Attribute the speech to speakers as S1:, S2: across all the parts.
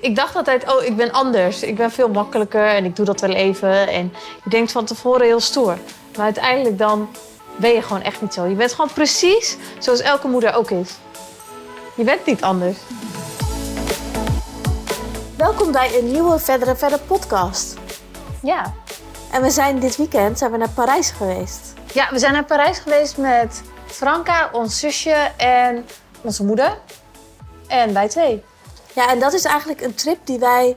S1: ik dacht altijd, oh, ik ben anders. Ik ben veel makkelijker en ik doe dat wel even. En je denkt van tevoren heel stoer. Maar uiteindelijk dan ben je gewoon echt niet zo. Je bent gewoon precies zoals elke moeder ook is. Je bent niet anders.
S2: Welkom bij een nieuwe Verder en Verder podcast.
S1: Ja.
S2: En we zijn dit weekend zijn we naar Parijs geweest.
S1: Ja, we zijn naar Parijs geweest met Franca, ons zusje en onze moeder. En wij twee.
S2: Ja, en dat is eigenlijk een trip die wij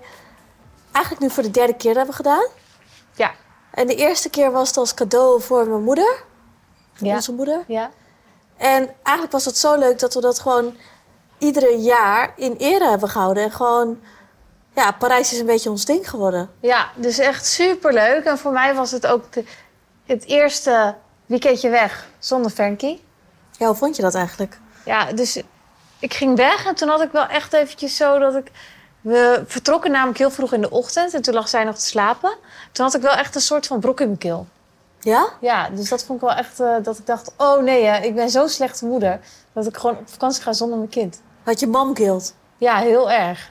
S2: eigenlijk nu voor de derde keer hebben gedaan.
S1: Ja.
S2: En de eerste keer was het als cadeau voor mijn moeder, voor
S1: Ja.
S2: onze moeder.
S1: Ja.
S2: En eigenlijk was het zo leuk dat we dat gewoon iedere jaar in ere hebben gehouden. En gewoon, ja, Parijs is een beetje ons ding geworden.
S1: Ja, dus echt superleuk. En voor mij was het ook de- het eerste weekendje weg zonder Frankie.
S2: Ja, hoe vond je dat eigenlijk?
S1: Ja, dus ik ging weg en toen had ik wel echt eventjes zo dat ik... We vertrokken namelijk heel vroeg in de ochtend en toen lag zij nog te slapen. Toen had ik wel echt een soort van brok in mijn keel.
S2: Ja?
S1: Ja, dus dat vond ik wel echt eh, dat ik dacht... Oh nee, hè, ik ben zo'n slechte moeder dat ik gewoon op vakantie ga zonder mijn kind.
S2: Had je mom guilt?
S1: Ja, heel erg.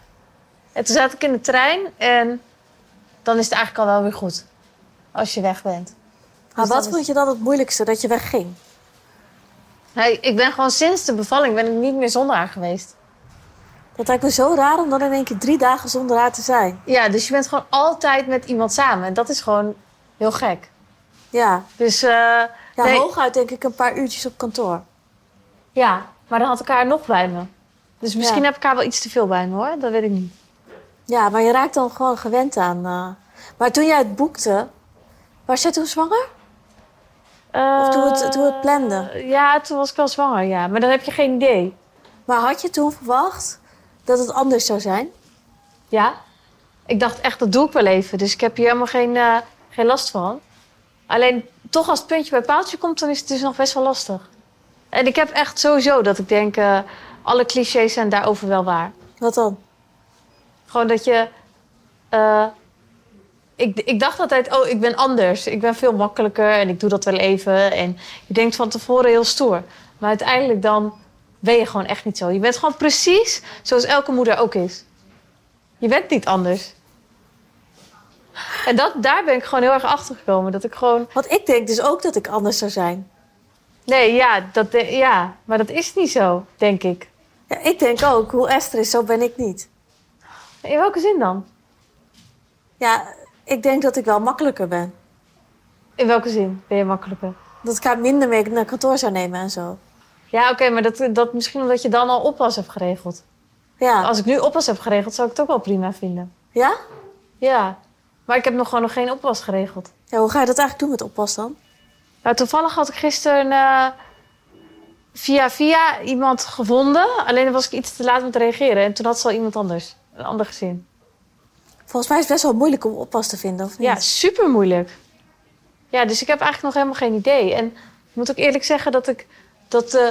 S1: En toen zat ik in de trein en dan is het eigenlijk al wel weer goed. Als je weg bent. Dus
S2: Maar
S1: dat
S2: wat
S1: is-
S2: vond je dan het moeilijkste dat je wegging?
S1: Nee, ik ben gewoon sinds de bevalling ben ik niet meer zonder haar geweest.
S2: Dat lijkt me zo raar om dan in één keer drie dagen zonder haar te zijn.
S1: Ja, dus je bent gewoon altijd met iemand samen. En dat is gewoon heel gek.
S2: Ja,
S1: Dus eh,
S2: ja
S1: Nee.
S2: hooguit denk ik een paar uurtjes op kantoor.
S1: ja, maar dan had ik haar nog bij me. Dus misschien
S2: Ja.
S1: heb ik haar wel iets te veel bij me hoor. Dat weet ik niet.
S2: Ja, maar je raakt dan gewoon gewend aan. eh. Maar toen jij het boekte, was jij toen zwanger? Of toen het, toen het plande?
S1: Eh, Ja, toen was ik wel zwanger, ja. Maar dan heb je geen idee.
S2: Maar had je toen verwacht dat het anders zou zijn?
S1: Ja? Ik dacht echt, dat doe ik wel even. Dus ik heb hier helemaal geen, eh, geen last van. Alleen toch als het puntje bij paaltje komt, dan is het dus nog best wel lastig. En ik heb echt sowieso dat ik denk, eh, alle clichés zijn daarover wel waar.
S2: Wat dan?
S1: Gewoon dat je... eh, ik, ik dacht altijd, oh, ik ben anders. Ik ben veel makkelijker en ik doe dat wel even. En je denkt van tevoren heel stoer. Maar uiteindelijk dan ben je gewoon echt niet zo. Je bent gewoon precies zoals elke moeder ook is. Je bent niet anders. En dat, daar ben ik gewoon heel erg achter gekomen. Dat ik gewoon...
S2: Want ik denk dus ook dat ik anders zou zijn.
S1: Nee, ja, dat, de- ja, maar dat is niet zo, denk ik.
S2: Ja, ik denk ook, hoe Esther is, zo ben ik niet.
S1: In welke zin dan?
S2: Ja, ik denk dat ik wel makkelijker ben.
S1: In welke zin ben je makkelijker?
S2: Dat ik haar minder mee naar kantoor zou nemen en zo.
S1: Ja, oké, maar dat, dat misschien omdat je dan al oppas hebt geregeld.
S2: Ja.
S1: Als ik nu oppas heb geregeld, zou ik het ook wel prima vinden.
S2: Ja?
S1: Ja, maar ik heb nog gewoon nog geen oppas geregeld.
S2: ja? Hoe ga je dat eigenlijk doen met oppas dan?
S1: Nou, toevallig had ik gisteren eh, via via iemand gevonden. Alleen dan was ik iets te laat met reageren. En toen had ze al iemand anders. Een ander gezin.
S2: Volgens mij is het best wel moeilijk om oppas te vinden, of niet?
S1: Ja, super moeilijk. Ja, dus ik heb eigenlijk nog helemaal geen idee. En ik moet ook eerlijk zeggen dat ik dat eh,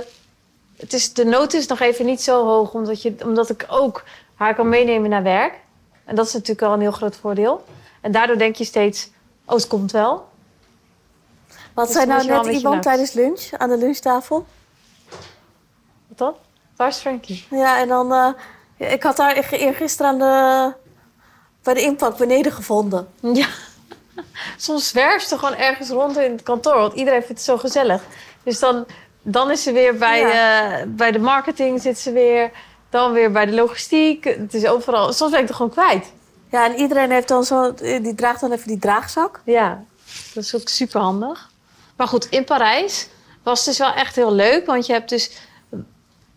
S1: het is, de nood is nog even niet zo hoog, omdat, je, omdat ik ook haar kan meenemen naar werk. En dat is natuurlijk al een heel groot voordeel. En daardoor denk je steeds, oh, het komt wel.
S2: Wat
S1: Dus
S2: zei
S1: dan
S2: nou
S1: is je wel
S2: net
S1: een beetje
S2: iemand
S1: leuk.
S2: tijdens lunch, aan de lunchtafel?
S1: Wat dan? Waar is Frankie?
S2: Ja, en dan... eh, ja, ik had haar gisteren aan de, bij de inpak beneden gevonden.
S1: Ja. Soms zwerft ze gewoon ergens rond in het kantoor, want iedereen vindt het zo gezellig. Dus dan, dan is ze weer bij, eh, bij de marketing, zit ze weer. Dan weer bij de logistiek. Het is overal. Soms ben ik er gewoon kwijt.
S2: Ja, en iedereen heeft dan zo... eh, Die draagt dan even die draagzak.
S1: Ja, dat is ook super handig. Maar goed, in Parijs was het dus wel echt heel leuk. Want je hebt dus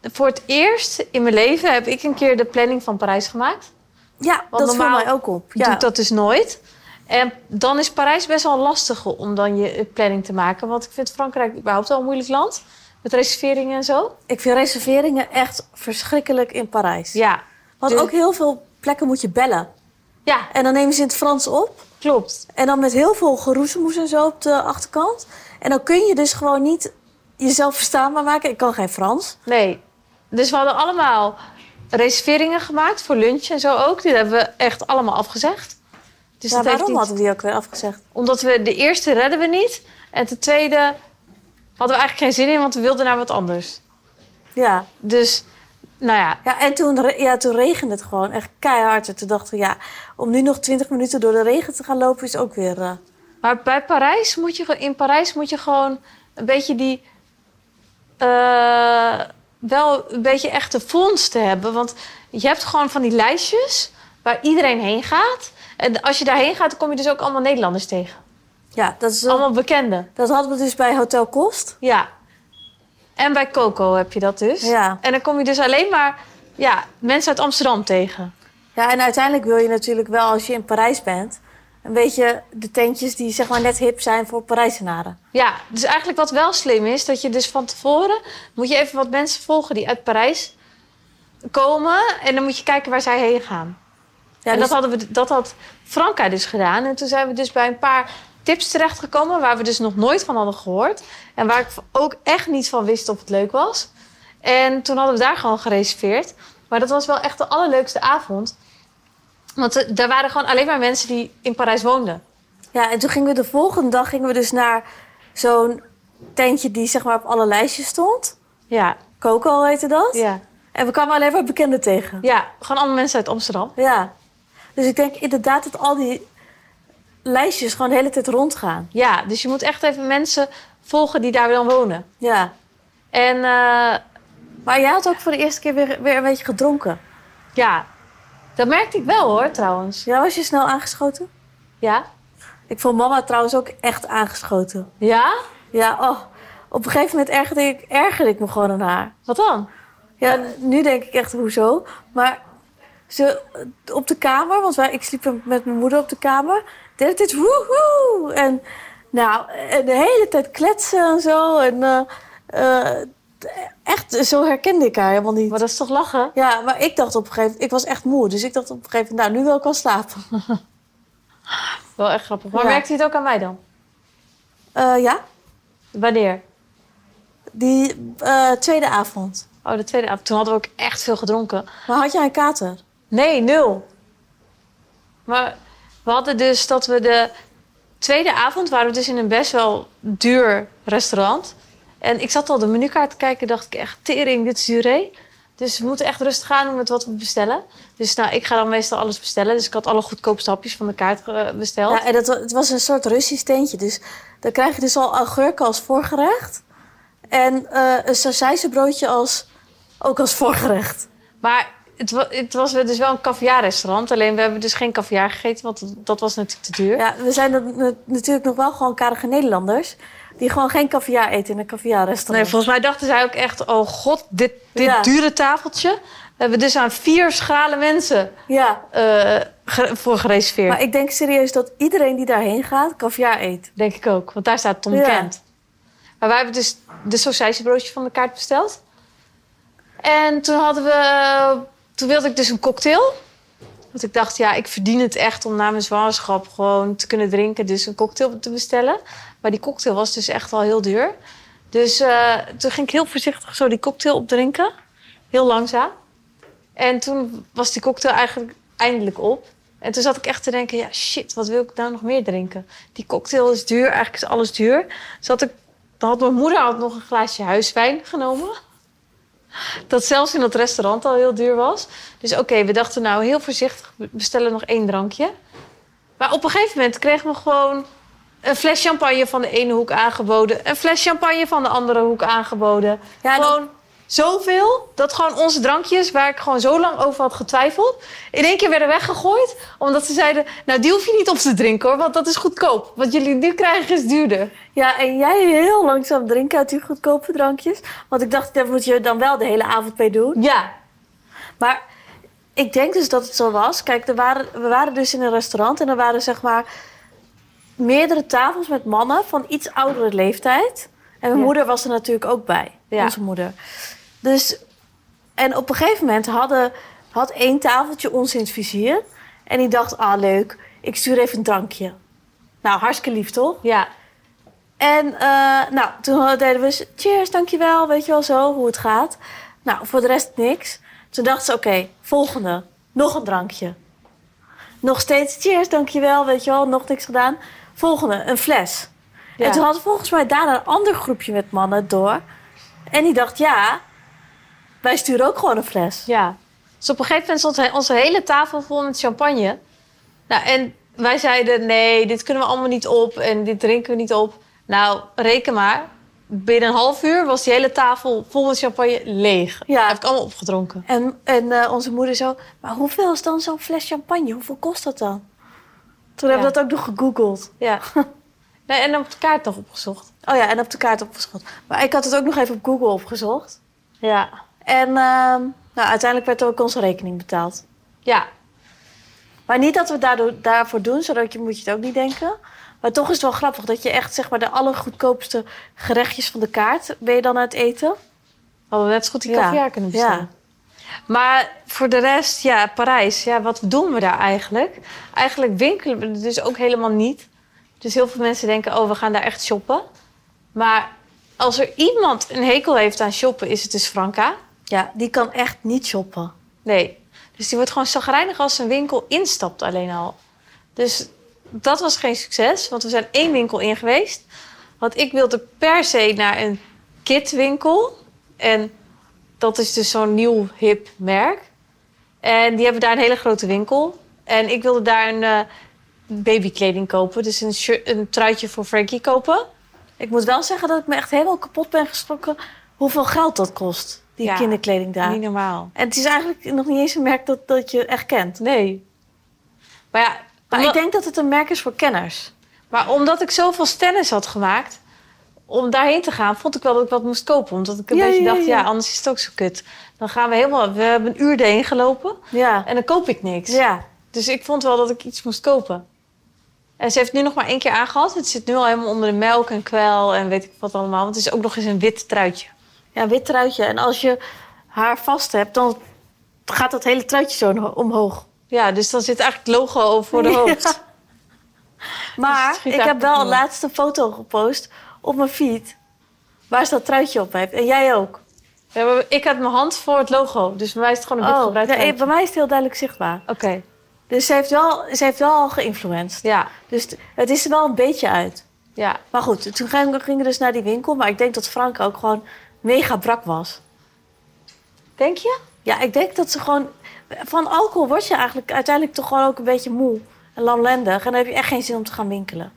S1: voor het eerst in mijn leven heb ik een keer de planning van Parijs gemaakt.
S2: Ja, dat
S1: normaal
S2: viel mij ook op.
S1: Je
S2: Ja.
S1: doet dat dus nooit. En dan is Parijs best wel lastig om dan je planning te maken. Want ik vind Frankrijk überhaupt wel een moeilijk land. Met reserveringen en zo.
S2: Ik vind reserveringen echt verschrikkelijk in Parijs.
S1: Ja,
S2: Want
S1: dus-
S2: ook heel veel plekken moet je bellen.
S1: ja
S2: En dan nemen ze in het Frans op.
S1: klopt.
S2: En dan met heel veel geroezemoes en zo op de achterkant. En dan kun je dus gewoon niet jezelf verstaanbaar maken. Ik kan geen Frans.
S1: Nee. Dus we hadden allemaal reserveringen gemaakt voor lunch en zo ook. Die hebben we echt allemaal afgezegd. Dus
S2: Ja,
S1: dat heeft
S2: waarom
S1: niet-
S2: hadden we die ook weer afgezegd?
S1: Omdat we de eerste redden we niet. En de tweede hadden we eigenlijk geen zin in, want we wilden naar wat anders.
S2: Ja,
S1: Dus nou ja,
S2: Ja, en toen, re- ja, toen regende het gewoon echt keihard. En toen dachten we, ja, om nu nog 20 minuten door de regen te gaan lopen is ook weer... eh,
S1: maar bij Parijs moet je, ge- in Parijs moet je gewoon een beetje die. eh, wel een beetje echte vondsten hebben. Want je hebt gewoon van die lijstjes waar iedereen heen gaat. En als je daarheen gaat, dan kom je dus ook allemaal Nederlanders tegen.
S2: ja, dat, is, eh,
S1: Allemaal bekenden.
S2: dat hadden we dus bij Hotel Kost.
S1: Ja. En bij Coco heb je dat dus.
S2: Ja.
S1: En dan kom je dus alleen maar ja, mensen uit Amsterdam tegen.
S2: Ja, en uiteindelijk wil je natuurlijk wel, als je in Parijs bent... een beetje de tentjes die zeg maar net hip zijn voor Parijzenaren.
S1: Ja, dus eigenlijk wat wel slim is, dat je dus van tevoren moet je even wat mensen volgen die uit Parijs komen. En dan moet je kijken waar zij heen gaan.
S2: Ja,
S1: en
S2: dus-
S1: dat, hadden we, dat had Franca dus gedaan. En toen zijn we dus bij een paar tips terechtgekomen waar we dus nog nooit van hadden gehoord. En waar ik ook echt niet van wist of het leuk was. En toen hadden we daar gewoon gereserveerd. Maar dat was wel echt de allerleukste avond. Want eh, daar waren gewoon alleen maar mensen die in Parijs woonden.
S2: Ja, en toen gingen we de volgende dag gingen we dus naar zo'n tentje die zeg maar op alle lijstjes stond.
S1: Ja,
S2: Coco heette dat.
S1: ja,
S2: En we kwamen alleen maar bekenden tegen.
S1: ja. Gewoon allemaal mensen uit Amsterdam.
S2: Ja. Dus ik denk inderdaad dat al die lijstjes gewoon de hele tijd rondgaan.
S1: Ja, dus je moet echt even mensen volgen die daar dan wonen.
S2: Ja.
S1: En eh,
S2: Maar jij had ook voor de eerste keer weer, weer een beetje gedronken.
S1: ja, dat merkte ik wel hoor trouwens.
S2: Ja, was je snel aangeschoten?
S1: Ja?
S2: Ik vond mama trouwens ook echt aangeschoten.
S1: Ja?
S2: Ja, oh. Op een gegeven moment ergerde ik, ergerde ik me gewoon aan haar.
S1: Wat dan?
S2: Ja, nu denk ik echt hoezo. Maar ze op de kamer, want wij, ik sliep met mijn moeder op de kamer, deed het dit woehoe. En nou, en de hele tijd kletsen en zo. En eh, eh, echt, zo herkende ik haar helemaal niet.
S1: Maar dat is toch lachen?
S2: Ja, maar ik dacht op een gegeven moment, ik was echt moe, dus ik dacht op een gegeven moment, nou, nu wil ik wel slapen.
S1: Wel echt grappig. Maar
S2: Ja.
S1: merkte je het ook aan mij dan?
S2: Eh, ja,
S1: Wanneer?
S2: die eh, tweede avond.
S1: Oh, de tweede avond. Toen hadden we ook echt veel gedronken.
S2: Maar had jij een kater?
S1: Nee, nul. Maar we hadden dus dat we de tweede avond waren we dus in een best wel duur restaurant. En ik zat al de menukaart te kijken, dacht ik echt, tering, dit is duré. Dus we moeten echt rustig gaan met wat we bestellen. Dus nou, ik ga dan meestal alles bestellen. Dus ik had alle goedkoopste hapjes van de kaart eh, besteld.
S2: Ja, en dat, wa- het was een soort Russisch tentje. Dus dan krijg je dus al augurken als voorgerecht. En eh een sausijzenbroodje als, ook als voorgerecht.
S1: Maar het, wa- het was dus wel een caviarrestaurant. Alleen we hebben dus geen caviar gegeten, want dat was natuurlijk te duur.
S2: Ja, we zijn dan na- natuurlijk nog wel gewoon karige Nederlanders... die gewoon geen kaviaar eten in een
S1: Nee,
S2: kaviaarrestaurant.
S1: volgens mij dachten zij ook echt: oh god, dit, dit
S2: Oh. Ja.
S1: dure tafeltje. We hebben dus aan vier schrale mensen
S2: Ja,
S1: eh, ge- voor gereserveerd.
S2: maar ik denk serieus dat iedereen die daarheen gaat kaviaar eet.
S1: Denk ik ook, want daar staat Tom
S2: Ja.
S1: Kent. Maar wij hebben dus de sausijzenbroodje van de kaart besteld. En toen hadden we... Toen wilde ik dus een cocktail. Want ik dacht, ja, ik verdien het echt om na mijn zwangerschap gewoon te kunnen drinken. Dus een cocktail te bestellen. Maar die cocktail was dus echt al heel duur. Dus eh, toen ging ik heel voorzichtig zo die cocktail opdrinken. Heel langzaam. En toen was die cocktail eigenlijk eindelijk op. En toen zat ik echt te denken, ja shit, wat wil ik nou nog meer drinken? Die cocktail is duur, eigenlijk is alles duur. Dus had ik, dan had mijn moeder had nog een glaasje huiswijn genomen. Dat zelfs in dat restaurant al heel duur was. Dus oké, we dachten nou heel voorzichtig, we bestellen nog één drankje. Maar op een gegeven moment kreeg me gewoon een fles champagne van de ene hoek aangeboden. Een fles champagne van de andere hoek aangeboden.
S2: Ja, dat-
S1: gewoon zoveel dat gewoon onze drankjes, waar ik gewoon zo lang over had getwijfeld, in één keer werden weggegooid. Omdat ze zeiden: Nou, die hoef je niet op te drinken hoor, want dat is goedkoop. Wat jullie nu krijgen is duurder.
S2: Ja, en jij heel langzaam drinken uit die goedkope drankjes. Want ik dacht, daar moet je dan wel de hele avond mee doen.
S1: Ja,
S2: Maar ik denk dus dat het zo was. Kijk, er waren, we waren dus in een restaurant en er waren zeg maar meerdere tafels met mannen van iets oudere leeftijd. En mijn
S1: Ja.
S2: moeder was er natuurlijk ook bij,
S1: Ja.
S2: onze moeder. Dus, en op een gegeven moment hadden, had één tafeltje ons in het vizier. En die dacht, ah leuk, ik stuur even een drankje. Nou, hartstikke lief toch?
S1: ja,
S2: En eh, nou, toen deden we ze, cheers, dankjewel, weet je wel zo, hoe het gaat. Nou, voor de rest niks. Toen dachten ze, oké, volgende, nog een drankje. Nog steeds, cheers, dankjewel, weet je wel, nog niks gedaan. Volgende, een fles.
S1: Ja.
S2: En toen had volgens mij daarna een ander groepje met mannen door. En die dacht, ja, Wij sturen ook gewoon een fles.
S1: Ja. Dus op een gegeven moment stond he- onze hele tafel vol met champagne. Nou, en wij zeiden, nee, dit kunnen we allemaal niet op en dit drinken we niet op. Nou, reken maar. Binnen een half uur was die hele tafel vol met champagne leeg.
S2: Ja.
S1: Ja. Heb ik allemaal opgedronken.
S2: En, en eh, onze moeder zo, maar hoeveel is dan zo'n fles champagne? Hoeveel kost dat dan? Toen
S1: Ja.
S2: hebben we dat ook nog gegoogeld.
S1: Ja. nee, en op de kaart nog opgezocht.
S2: Oh ja, en op de kaart opgeschot. Maar ik had het ook nog even op Google opgezocht.
S1: Ja.
S2: En ehm, nou, uiteindelijk werd ook onze rekening betaald.
S1: Ja.
S2: Maar niet dat we het daardoor, daarvoor doen, zodat je moet je het ook niet denken. Maar toch is het wel grappig dat je echt zeg maar, de allergoedkoopste gerechtjes van de kaart ben je dan aan het eten.
S1: Hadden we net zo goed die
S2: Ja.
S1: caviar kunnen bestellen. Maar voor de rest, ja, Parijs. Ja, wat doen we daar eigenlijk? Eigenlijk winkelen we er dus ook helemaal niet. Dus heel veel mensen denken, oh, we gaan daar echt shoppen. Maar als er iemand een hekel heeft aan shoppen, is het dus Franca.
S2: Ja, die kan echt niet shoppen.
S1: Nee. Dus die wordt gewoon chagrijnig als een winkel instapt alleen al. Dus dat was geen succes, want we zijn één winkel in geweest. Want ik wilde per se naar een kidwinkel. En dat is dus zo'n nieuw hip merk. En die hebben daar een hele grote winkel. En ik wilde daar een eh, babykleding kopen. Dus een, shir- een truitje voor Frankie kopen.
S2: Ik moet wel zeggen dat ik me echt helemaal kapot ben geschrokken hoeveel geld dat kost, die
S1: Ja,
S2: kinderkleding daar.
S1: Niet normaal.
S2: En het is eigenlijk nog niet eens een merk dat, dat je echt kent.
S1: Nee. Maar ja,
S2: Maar
S1: omdat-
S2: ik denk dat het een merk is voor kenners.
S1: Maar omdat ik zoveel stennis had gemaakt, om daarheen te gaan, vond ik wel dat ik wat moest kopen. Omdat ik een
S2: Ja,
S1: beetje
S2: ja,
S1: dacht,
S2: ja.
S1: ja. anders is het ook zo kut. Dan gaan we helemaal, we hebben een uur erheen gelopen
S2: Ja.
S1: en dan koop ik niks.
S2: Ja.
S1: Dus ik vond wel dat ik iets moest kopen. En ze heeft nu nog maar één keer aangehad. Het zit nu al helemaal onder de melk en kwel en weet ik wat allemaal. Want het is ook nog eens een wit truitje.
S2: ja, wit truitje. En als je haar vast hebt, dan gaat dat hele truitje zo no- omhoog.
S1: Ja, dus dan zit eigenlijk het logo over voor de
S2: Ja.
S1: hoofd. Dus het
S2: Maar
S1: schiet
S2: ik heb
S1: eigenlijk
S2: wel
S1: op
S2: een
S1: nul.
S2: laatste foto gepost op mijn feed. Waar ze dat truitje op heeft. En jij ook.
S1: Ja, maar ik had mijn hand voor het logo. Dus bij mij is het gewoon een wit
S2: Oh,
S1: gebruikt
S2: nee,
S1: truitje.
S2: bij mij is het heel duidelijk zichtbaar.
S1: Oké,
S2: Dus ze heeft wel, ze heeft wel al geïnfluenced.
S1: ja,
S2: Dus t- het is er wel een beetje uit.
S1: ja.
S2: Maar goed, toen gingen we- gingen we dus naar die winkel. Maar ik denk dat Frank ook gewoon mega brak was.
S1: Denk je?
S2: Ja, ik denk dat ze gewoon... Van alcohol word je eigenlijk uiteindelijk toch gewoon ook een beetje moe. En lamlendig. En dan heb je echt geen zin om te gaan winkelen.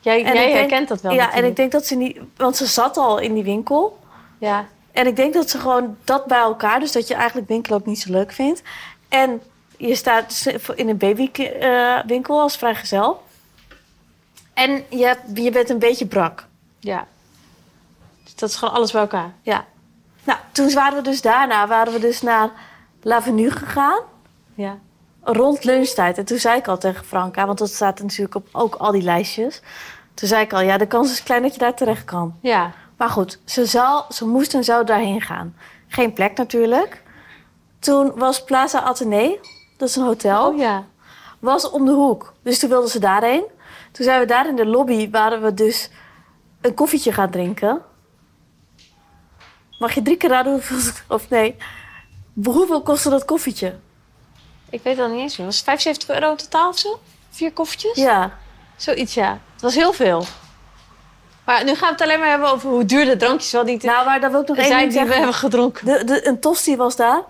S1: Jij,
S2: En
S1: jij
S2: ik denk-
S1: herkent dat wel
S2: ja, en ik
S1: natuurlijk.
S2: denk dat ze niet... Want ze zat al in die winkel.
S1: Ja,
S2: En ik denk dat ze gewoon dat bij elkaar... Dus dat je eigenlijk winkelen ook niet zo leuk vindt. En je staat dus in een babywinkel als vrijgezel. En je, hebt- je bent een beetje brak.
S1: Ja. Dus dat is gewoon alles bij elkaar.
S2: Ja. Nou, toen waren we dus daarna waren we dus naar L'avenue gegaan.
S1: Ja.
S2: Rond lunchtijd. En toen zei ik al tegen Franka, want dat staat natuurlijk op ook al die lijstjes. Toen zei ik al, ja, de kans is klein dat je daar terecht kan.
S1: Ja.
S2: Maar goed, ze, zou, ze moest en zou daarheen gaan. Geen plek natuurlijk. Toen was Plaza Athené, dat is een hotel,
S1: Oh, ja.
S2: was om de hoek. Dus toen wilden ze daarheen. Toen zijn we daar in de lobby, waren we dus een koffietje gaan drinken. Mag je drie keer raden hoeveel... Of nee, hoeveel kostte dat koffietje?
S1: Ik weet dat niet eens meer. Was het 75 euro in totaal of zo? Vier koffietjes?
S2: Ja,
S1: Zoiets, ja. Het was heel veel. Maar nu gaan we het alleen maar hebben over hoe duur de drankjes wel niet
S2: nou, maar daar wil ik nog één
S1: zijn
S2: ding
S1: die we
S2: zeggen.
S1: hebben gedronken.
S2: De, de, een tosti was daar,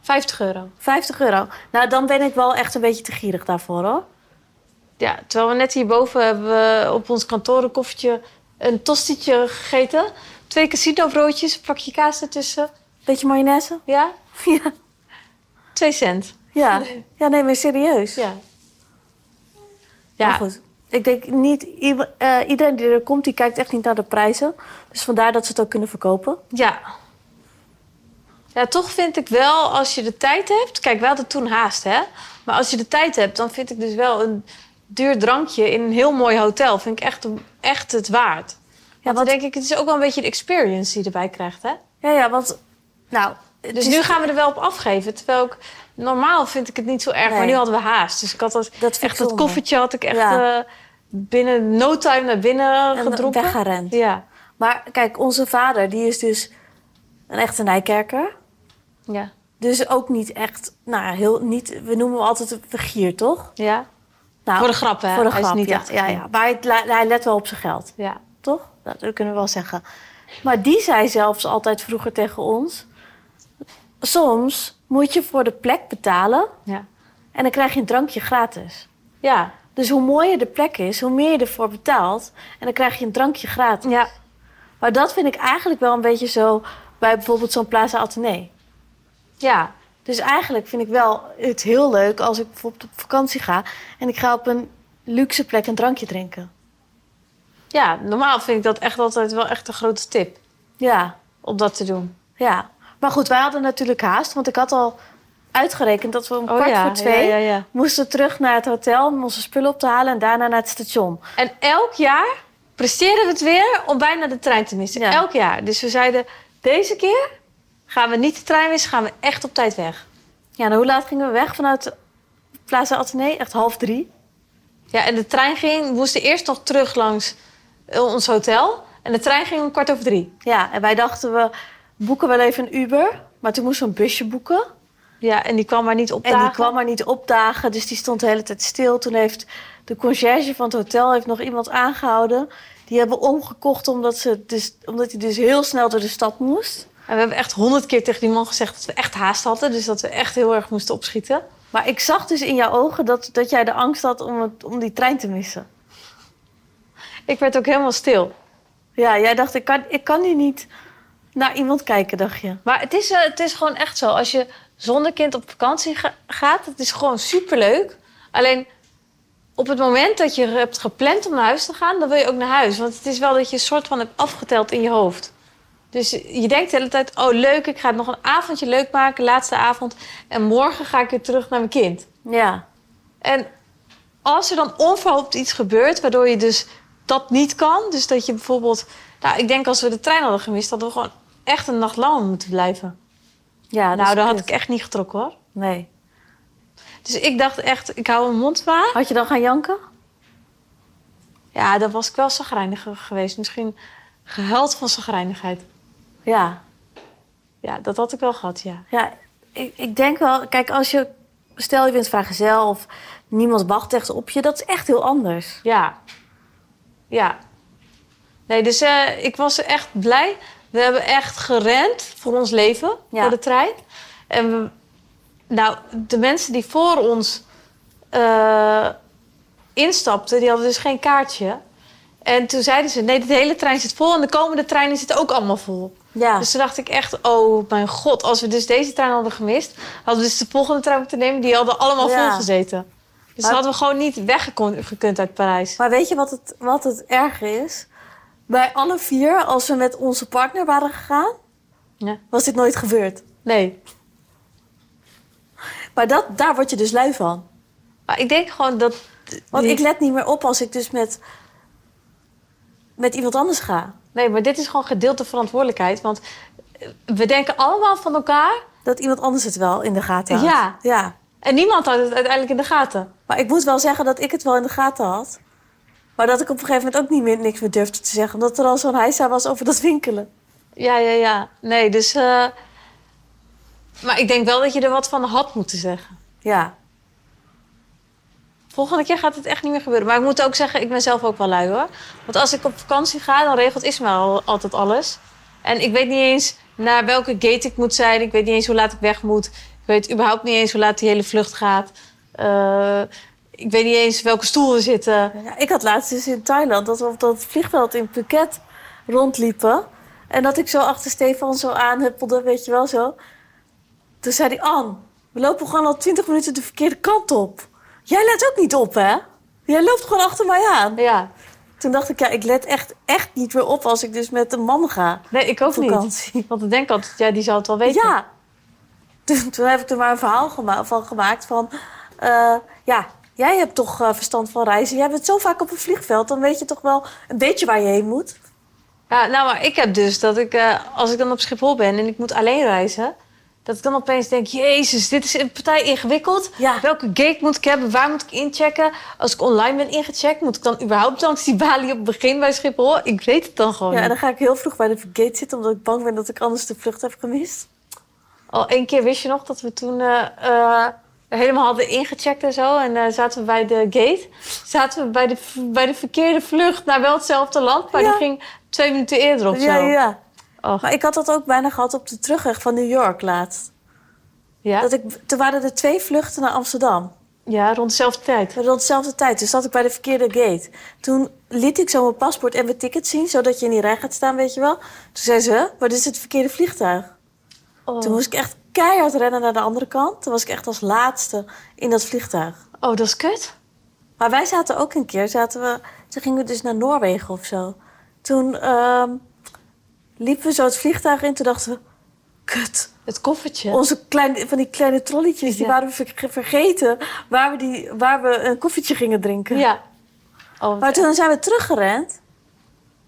S1: 50 euro.
S2: 50 euro. Nou, dan ben ik wel echt een beetje te gierig daarvoor, hoor.
S1: Ja, terwijl we net hierboven hebben we op ons kantoor een koffietje, een tostietje gegeten. Twee casino broodjes, een plakje kaas ertussen.
S2: Beetje mayonaise?
S1: Ja,
S2: Ja.
S1: twee cent.
S2: Ja, ja nee, maar serieus.
S1: Ja.
S2: Maar goed, ik denk niet... ieder- eh, iedereen die er komt, die kijkt echt niet naar de prijzen. Dus vandaar dat ze het ook kunnen verkopen.
S1: Ja. Ja, toch vind ik wel, als je de tijd hebt... Kijk, wij hadden toen haast, hè? Maar als je de tijd hebt, dan vind ik dus wel een duur drankje... in een heel mooi hotel, vind ik echt, echt het waard. Ja, want dan
S2: wat-
S1: denk ik, het is ook wel een beetje de experience die je erbij krijgt, hè?
S2: Ja, ja, want... Nou, het
S1: Dus
S2: is-
S1: nu gaan we er wel op afgeven. Terwijl ik, normaal vind ik het niet zo erg,
S2: Nee.
S1: maar nu hadden we haast. Dus ik had dat,
S2: Dat vind ik
S1: echt dat
S2: zonde.
S1: koffertje had ik echt
S2: Ja.
S1: eh, binnen no time naar binnen
S2: En
S1: gedronken.
S2: weggerend.
S1: Ja,
S2: Maar kijk, onze vader, die is dus een echte Nijkerker.
S1: ja,
S2: Dus ook niet echt... Nou, ja, heel, niet, we noemen hem altijd een vergier, toch?
S1: ja.
S2: Nou,
S1: Voor de grap, hè?
S2: Voor de
S1: eh, Hij is
S2: grap,
S1: niet
S2: ja,
S1: echt
S2: ja, ja. Maar hij, la- hij let wel op zijn geld,
S1: ja.
S2: toch? Dat, dat kunnen we wel zeggen. Maar die zei zelfs altijd vroeger tegen ons... soms moet je voor de plek betalen
S1: Ja.
S2: en dan krijg je een drankje gratis.
S1: Ja.
S2: Dus hoe mooier de plek is, hoe meer je ervoor betaalt en dan krijg je een drankje gratis.
S1: Ja.
S2: Maar dat vind ik eigenlijk wel een beetje zo bij bijvoorbeeld zo'n Plaza Athené.
S1: Ja.
S2: Dus eigenlijk vind ik wel het heel leuk als ik bijvoorbeeld op vakantie ga en ik ga op een luxe plek een drankje drinken.
S1: Ja. Normaal vind ik dat echt altijd wel echt een grote tip
S2: Ja.
S1: om dat te doen.
S2: Ja, maar goed, wij hadden natuurlijk haast. Want ik had al uitgerekend dat we om kwart
S1: Oh ja.
S2: voor twee
S1: Ja, ja, ja.
S2: moesten terug naar het hotel om onze spullen op te halen en daarna naar het station.
S1: En elk jaar presteren we het weer om bijna de trein te missen.
S2: Ja.
S1: Elk jaar. Dus we zeiden, deze keer gaan we niet de trein missen, gaan we echt op tijd weg.
S2: Ja, en hoe laat gingen we weg vanuit Plaza Athené? Echt half drie.
S1: Ja, en de trein ging, we moesten eerst nog terug langs eh, ons hotel. En de trein ging om kwart over drie.
S2: Ja, en wij dachten we boeken wel even een Uber. Maar toen moesten we een busje boeken.
S1: Ja, en die kwam maar niet op
S2: En die kwam maar niet opdagen, dus die stond de hele tijd stil. Toen heeft de conciërge van het hotel heeft nog iemand aangehouden. Die hebben omgekocht omdat, ze dus, omdat hij dus heel snel door de stad moest.
S1: En we hebben echt honderd keer tegen die man gezegd dat we echt haast hadden. Dus dat we echt heel erg moesten opschieten.
S2: Maar ik zag dus in jouw ogen dat, dat jij de angst had om, het, om die trein te missen.
S1: Ik werd ook helemaal stil.
S2: Ja, jij dacht, ik kan, ik kan hier niet naar iemand kijken, dacht je.
S1: Maar het is, eh, het is gewoon echt zo. Als je zonder kind op vakantie ga- gaat, het is gewoon superleuk. Alleen op het moment dat je hebt gepland om naar huis te gaan, dan wil je ook naar huis. Want het is wel dat je een soort van hebt afgeteld in je hoofd. Dus je denkt de hele tijd, oh leuk, ik ga het nog een avondje leuk maken, laatste avond. En morgen ga ik weer terug naar mijn kind.
S2: Ja,
S1: En als er dan onverhoopt iets gebeurt, waardoor je dus dat niet kan. Dus dat je bijvoorbeeld, nou ik denk als we de trein hadden gemist, hadden we gewoon echt een nacht langer moeten blijven.
S2: ja
S1: Nou, dat had ik echt niet getrokken hoor.
S2: Dus Nee.
S1: Dus ik dacht echt, ik hou mijn mond waar.
S2: Had je dan gaan janken?
S1: Ja, dan was ik wel zagrijniger geweest. Misschien gehuild van zagrijnigheid.
S2: Ja.
S1: Ja, dat had ik wel gehad, ja.
S2: Ja, ik, ik denk wel... Kijk, als je... Stel, je bent vrijgezel of niemand wacht echt op je. Dat is echt heel anders.
S1: Ja. Ja. Nee, dus eh, ik was echt blij. We hebben echt gerend voor ons leven,
S2: Ja.
S1: voor de trein. En we, nou, de mensen die voor ons eh, instapten, die hadden dus geen kaartje. En toen zeiden ze, nee, de hele trein zit vol en de komende treinen zitten ook allemaal vol.
S2: Ja.
S1: Dus toen dacht ik echt, oh mijn god, als we dus deze trein hadden gemist... hadden we dus de volgende trein moeten nemen, die hadden allemaal
S2: Ja.
S1: vol gezeten. Dus
S2: Maar-
S1: dan hadden we gewoon niet weggekund uit Parijs.
S2: Maar weet je wat het, wat het erger is? Bij alle vier, als we met onze partner waren gegaan...
S1: Ja.
S2: was dit nooit gebeurd.
S1: Nee.
S2: Maar dat, daar word je dus lui van.
S1: Maar ik denk gewoon dat...
S2: Want
S1: die-
S2: ik let niet meer op als ik dus met, met iemand anders ga.
S1: Nee, maar dit is gewoon gedeelte verantwoordelijkheid. Want eh, we denken allemaal van elkaar...
S2: Dat iemand anders het wel in de gaten had.
S1: Ja.
S2: ja.
S1: en niemand houdt het uiteindelijk in de gaten.
S2: Maar ik moet wel zeggen dat ik het wel in de gaten had. Maar dat ik op een gegeven moment ook niet meer niks meer durfde te zeggen. Omdat er al zo'n heisa was over dat winkelen.
S1: Ja, ja, ja. Nee, dus... eh, Maar ik denk wel dat je er wat van had moeten zeggen.
S2: Ja.
S1: Volgende keer gaat het echt niet meer gebeuren. Maar ik moet ook zeggen, ik ben zelf ook wel lui hoor. Want als ik op vakantie ga, dan regelt Ismaël altijd alles. En ik weet niet eens naar welke gate ik moet zijn. Ik weet niet eens hoe laat ik weg moet. Ik weet überhaupt niet eens hoe laat die hele vlucht gaat. Eh, ik weet niet eens welke stoel we zitten.
S2: ja. Ik had laatst dus in Thailand dat we op dat vliegveld in Phuket rondliepen. En dat ik zo achter Stefan zo aanhuppelde, weet je wel zo. Toen zei hij, An, we lopen gewoon al twintig minuten de verkeerde kant op. Jij let ook niet op, hè? Jij loopt gewoon achter mij aan.
S1: Ja,
S2: Toen dacht ik, ja, ik let echt, echt niet meer op als ik dus met een man ga
S1: nee, ik ook
S2: op
S1: niet.
S2: vakantie.
S1: Want ik denk altijd, ja, die zal het wel weten.
S2: Ja. Toen, toen heb ik er maar een verhaal gema- van gemaakt van... eh, ja, jij hebt toch eh, verstand van reizen. Jij bent zo vaak op een vliegveld. Dan weet je toch wel een beetje waar je heen moet.
S1: Ja, nou, maar ik heb dus dat ik, eh, als ik dan op Schiphol ben en ik moet alleen reizen, dat ik dan opeens denk: Jezus, dit is een partij ingewikkeld.
S2: Ja.
S1: Welke gate moet ik hebben? Waar moet ik inchecken? Als ik online ben ingecheckt, moet ik dan überhaupt langs die balie op het begin bij Schiphol? Ik weet het dan gewoon.
S2: Ja, en
S1: niet.
S2: dan ga ik heel vroeg bij de gate zitten... omdat ik bang ben dat ik anders de vlucht heb gemist.
S1: Al één keer wist je nog dat we toen eh, eh, helemaal hadden ingecheckt en zo. En eh, zaten we bij de gate. Zaten we bij de, bij de verkeerde vlucht naar wel hetzelfde land, maar
S2: Ja.
S1: die ging twee minuten eerder of zo.
S2: Ja, ja.
S1: Och.
S2: Maar ik had dat ook bijna gehad op de terugweg van New York laatst.
S1: Ja,
S2: Dat ik, toen waren er twee vluchten naar Amsterdam.
S1: ja rond dezelfde tijd.
S2: Rond dezelfde tijd. Dus zat ik bij de verkeerde gate. Toen liet ik zo mijn paspoort en mijn ticket zien, zodat je in die rij gaat staan, weet je wel. Toen zei ze, "Huh? maar dit is het verkeerde vliegtuig.
S1: Oh.
S2: Toen moest ik echt keihard rennen naar de andere kant. Toen was ik echt als laatste in dat vliegtuig.
S1: oh, dat is kut.
S2: Maar wij zaten ook een keer, zaten we, toen gingen we dus naar Noorwegen of zo. Toen ehm, liepen we zo het vliegtuig in, toen dachten we, kut.
S1: Het koffertje.
S2: Onze kleine, van die kleine trolletjes, die
S1: Ja.
S2: waren we ver- vergeten waar we, die, waar we een koffietje gingen drinken.
S1: Ja. Oh, wat
S2: Maar toen zijn we teruggerend.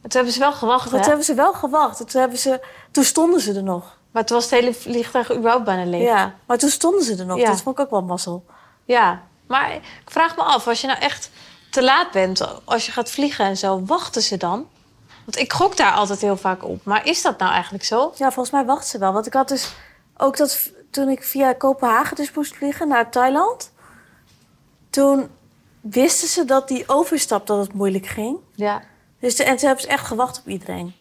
S1: Het hebben ze wel gewacht,
S2: Toen
S1: hè?
S2: hebben ze wel gewacht. Toen, hebben ze, toen stonden ze er nog.
S1: Maar toen was het hele vliegtuig überhaupt bijna leeg.
S2: Ja, maar toen stonden ze er nog.
S1: Ja.
S2: Dat vond ik ook wel mazzel.
S1: Ja, maar ik vraag me af, als je nou echt te laat bent, als je gaat vliegen en zo, wachten ze dan? Want ik gok daar altijd heel vaak op. Maar is dat nou eigenlijk zo?
S2: Ja, volgens mij wachten ze wel. Want ik had dus ook dat v- toen ik via Kopenhagen dus moest vliegen naar Thailand. Toen wisten ze dat die overstap dat het moeilijk ging.
S1: Ja.
S2: Dus de, en toen hebben ze echt gewacht op iedereen.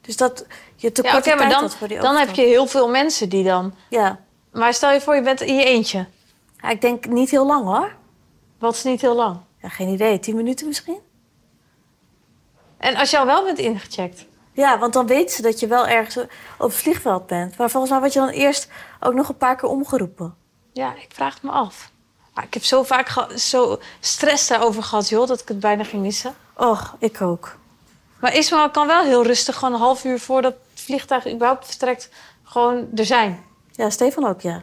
S2: Dus dat je te
S1: Ja,
S2: korte
S1: oké, maar
S2: tijd
S1: dan,
S2: had voor die
S1: dan heb
S2: overstap.
S1: je heel veel mensen die dan...
S2: Ja.
S1: Maar stel je voor, je bent in je eentje.
S2: ja, ik denk niet heel lang hoor.
S1: Wat is niet heel lang.
S2: Ja, geen idee, tien minuten misschien?
S1: En als je al wel bent ingecheckt.
S2: Ja, want dan weten ze dat je wel ergens op het vliegveld bent. Maar volgens mij word je dan eerst ook nog een paar keer omgeroepen.
S1: Ja, ik vraag het me af. Maar ik heb zo vaak ge- zo stress daarover gehad, joh, dat ik het bijna ging missen.
S2: Och, ik ook.
S1: Maar Ismaël kan wel heel rustig, gewoon een half uur voordat het vliegtuig überhaupt vertrekt, gewoon er zijn.
S2: Ja, Stefan ook, ja.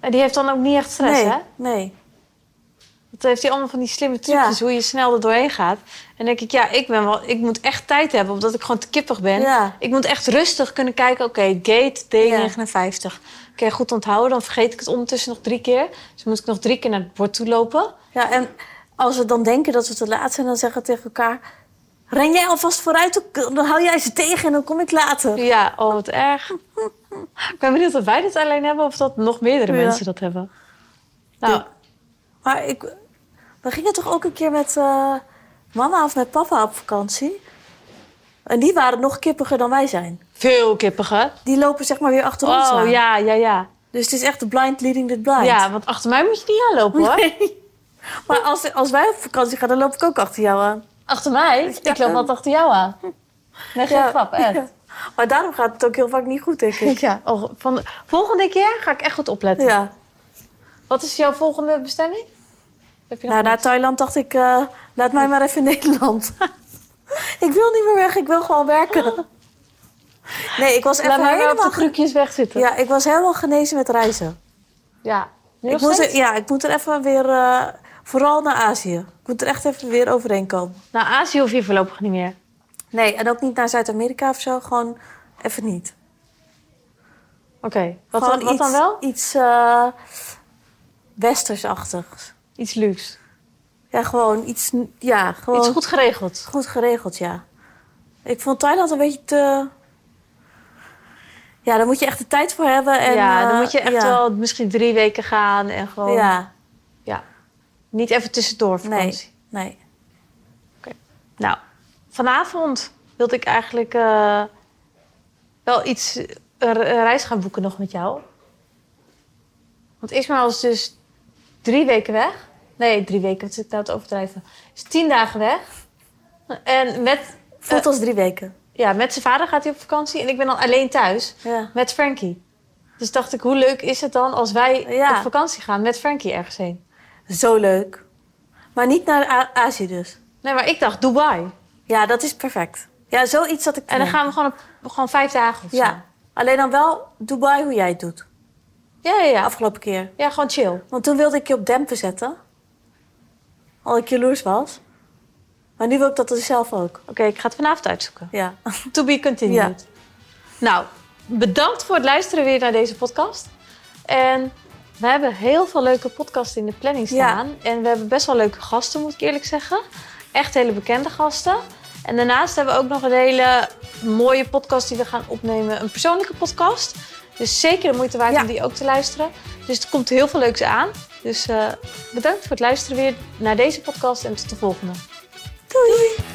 S1: En die heeft dan ook niet echt stress,
S2: nee,
S1: hè?
S2: nee.
S1: Dat heeft hij allemaal van die slimme trucjes,
S2: Ja.
S1: hoe je snel er doorheen gaat. En dan denk ik, ja, ik, ben wel, ik moet echt tijd hebben, omdat ik gewoon te kippig ben.
S2: Ja.
S1: Ik moet echt rustig kunnen kijken, oké, gate D59. Oké, goed onthouden, dan vergeet ik het ondertussen nog drie keer. Dus moet ik nog drie keer naar het bord toe lopen.
S2: Ja, en als we dan denken dat we te laat zijn, dan zeggen we tegen elkaar... Ren jij alvast vooruit, dan- dan hou jij ze tegen en dan kom ik later.
S1: Ja, oh, wat erg. ik ben benieuwd of wij dit alleen hebben of dat nog meerdere
S2: Ja.
S1: mensen dat hebben. Nou,
S2: Ja. Maar ik, we gingen toch ook een keer met eh, mama of met papa op vakantie? En die waren nog kippiger dan wij zijn.
S1: veel kippiger.
S2: Die lopen zeg maar weer achter ons
S1: Oh,
S2: aan.
S1: ja, ja, ja.
S2: Dus het is echt de blind leading the blind.
S1: Ja, want achter mij moet je niet aanlopen, hoor.
S2: Nee. Maar als, als wij op vakantie gaan, dan loop ik ook achter jou aan.
S1: Achter mij? Ik loop altijd achter jou aan. Nee, geen
S2: Ja.
S1: grap, echt.
S2: Ja. Maar daarom gaat het ook heel vaak niet goed, denk ik.
S1: Ja, oh, van de- volgende keer ga ik echt goed opletten.
S2: Ja.
S1: Wat is jouw volgende bestemming? Heb je nog
S2: Nou, na Thailand dacht ik, eh, laat mij maar even in Nederland. ik wil niet meer weg, ik wil gewoon werken. Nee, ik was
S1: Laat
S2: even
S1: mij maar op de
S2: helemaal...
S1: krukjes wegzitten.
S2: Ja, ik was helemaal genezen met reizen.
S1: ja. Nu
S2: Ik
S1: nog
S2: moet
S1: steeds?
S2: er, ja, ik moet er even weer... eh, vooral naar Azië. Ik moet er echt even weer overheen komen.
S1: Nou, Azië hoef je voorlopig niet meer.
S2: Nee, en ook niet naar Zuid-Amerika of zo. Gewoon even niet.
S1: Oké. Wat, dan,
S2: Gewoon
S1: wat
S2: iets,
S1: dan wel?
S2: Iets eh, westersachtigs.
S1: Iets luxe.
S2: Ja, gewoon iets, ja, gewoon
S1: Iets goed geregeld.
S2: goed geregeld, ja. Ik vond Thailand een beetje te... Ja, daar moet je echt de tijd voor hebben. En,
S1: ja, dan
S2: eh,
S1: moet je echt
S2: ja.
S1: wel misschien drie weken gaan en gewoon
S2: Ja,
S1: niet even tussendoor vakantie.
S2: nee, nee.
S1: Nou, vanavond wilde ik eigenlijk eh, wel iets, eh, een re- een reis gaan boeken nog met jou. Want Ismaël is dus drie weken weg. Nee, drie weken, wat zit ik nou te overdrijven. Is tien dagen weg. En met,
S2: Voelt als drie weken.
S1: ja, met zijn vader gaat hij op vakantie en ik ben dan alleen thuis
S2: Ja.
S1: met Frankie. Dus dacht ik, hoe leuk is het dan als wij
S2: Ja.
S1: op vakantie gaan met Frankie ergens heen?
S2: Zo leuk. Maar niet naar A- Azië dus.
S1: Nee, maar ik dacht Dubai.
S2: Ja, dat is perfect. Ja, zoiets dat ik...
S1: En dan gaan we gewoon, op, gewoon vijf dagen of zo.
S2: Ja, alleen dan wel Dubai hoe jij het doet.
S1: Ja, ja, ja.
S2: Afgelopen keer.
S1: Ja, gewoon chill.
S2: Want toen wilde ik je op dempen zetten. Al ik jaloers was. Maar nu wil ik dat dus zelf ook.
S1: Oké, ik ga het vanavond uitzoeken.
S2: Ja.
S1: To be continued. Nou, bedankt voor het luisteren weer naar deze podcast. En we hebben heel veel leuke podcasts in de planning
S2: Ja.
S1: staan. En we hebben best wel leuke gasten, moet ik eerlijk zeggen. Echt hele bekende gasten. En daarnaast hebben we ook nog een hele mooie podcast die we gaan opnemen. Een persoonlijke podcast. Dus zeker de moeite waard
S2: Ja.
S1: om die ook te luisteren. Dus er komt heel veel leuks aan. Dus eh, bedankt voor het luisteren weer naar deze podcast en tot de volgende.
S2: Doei.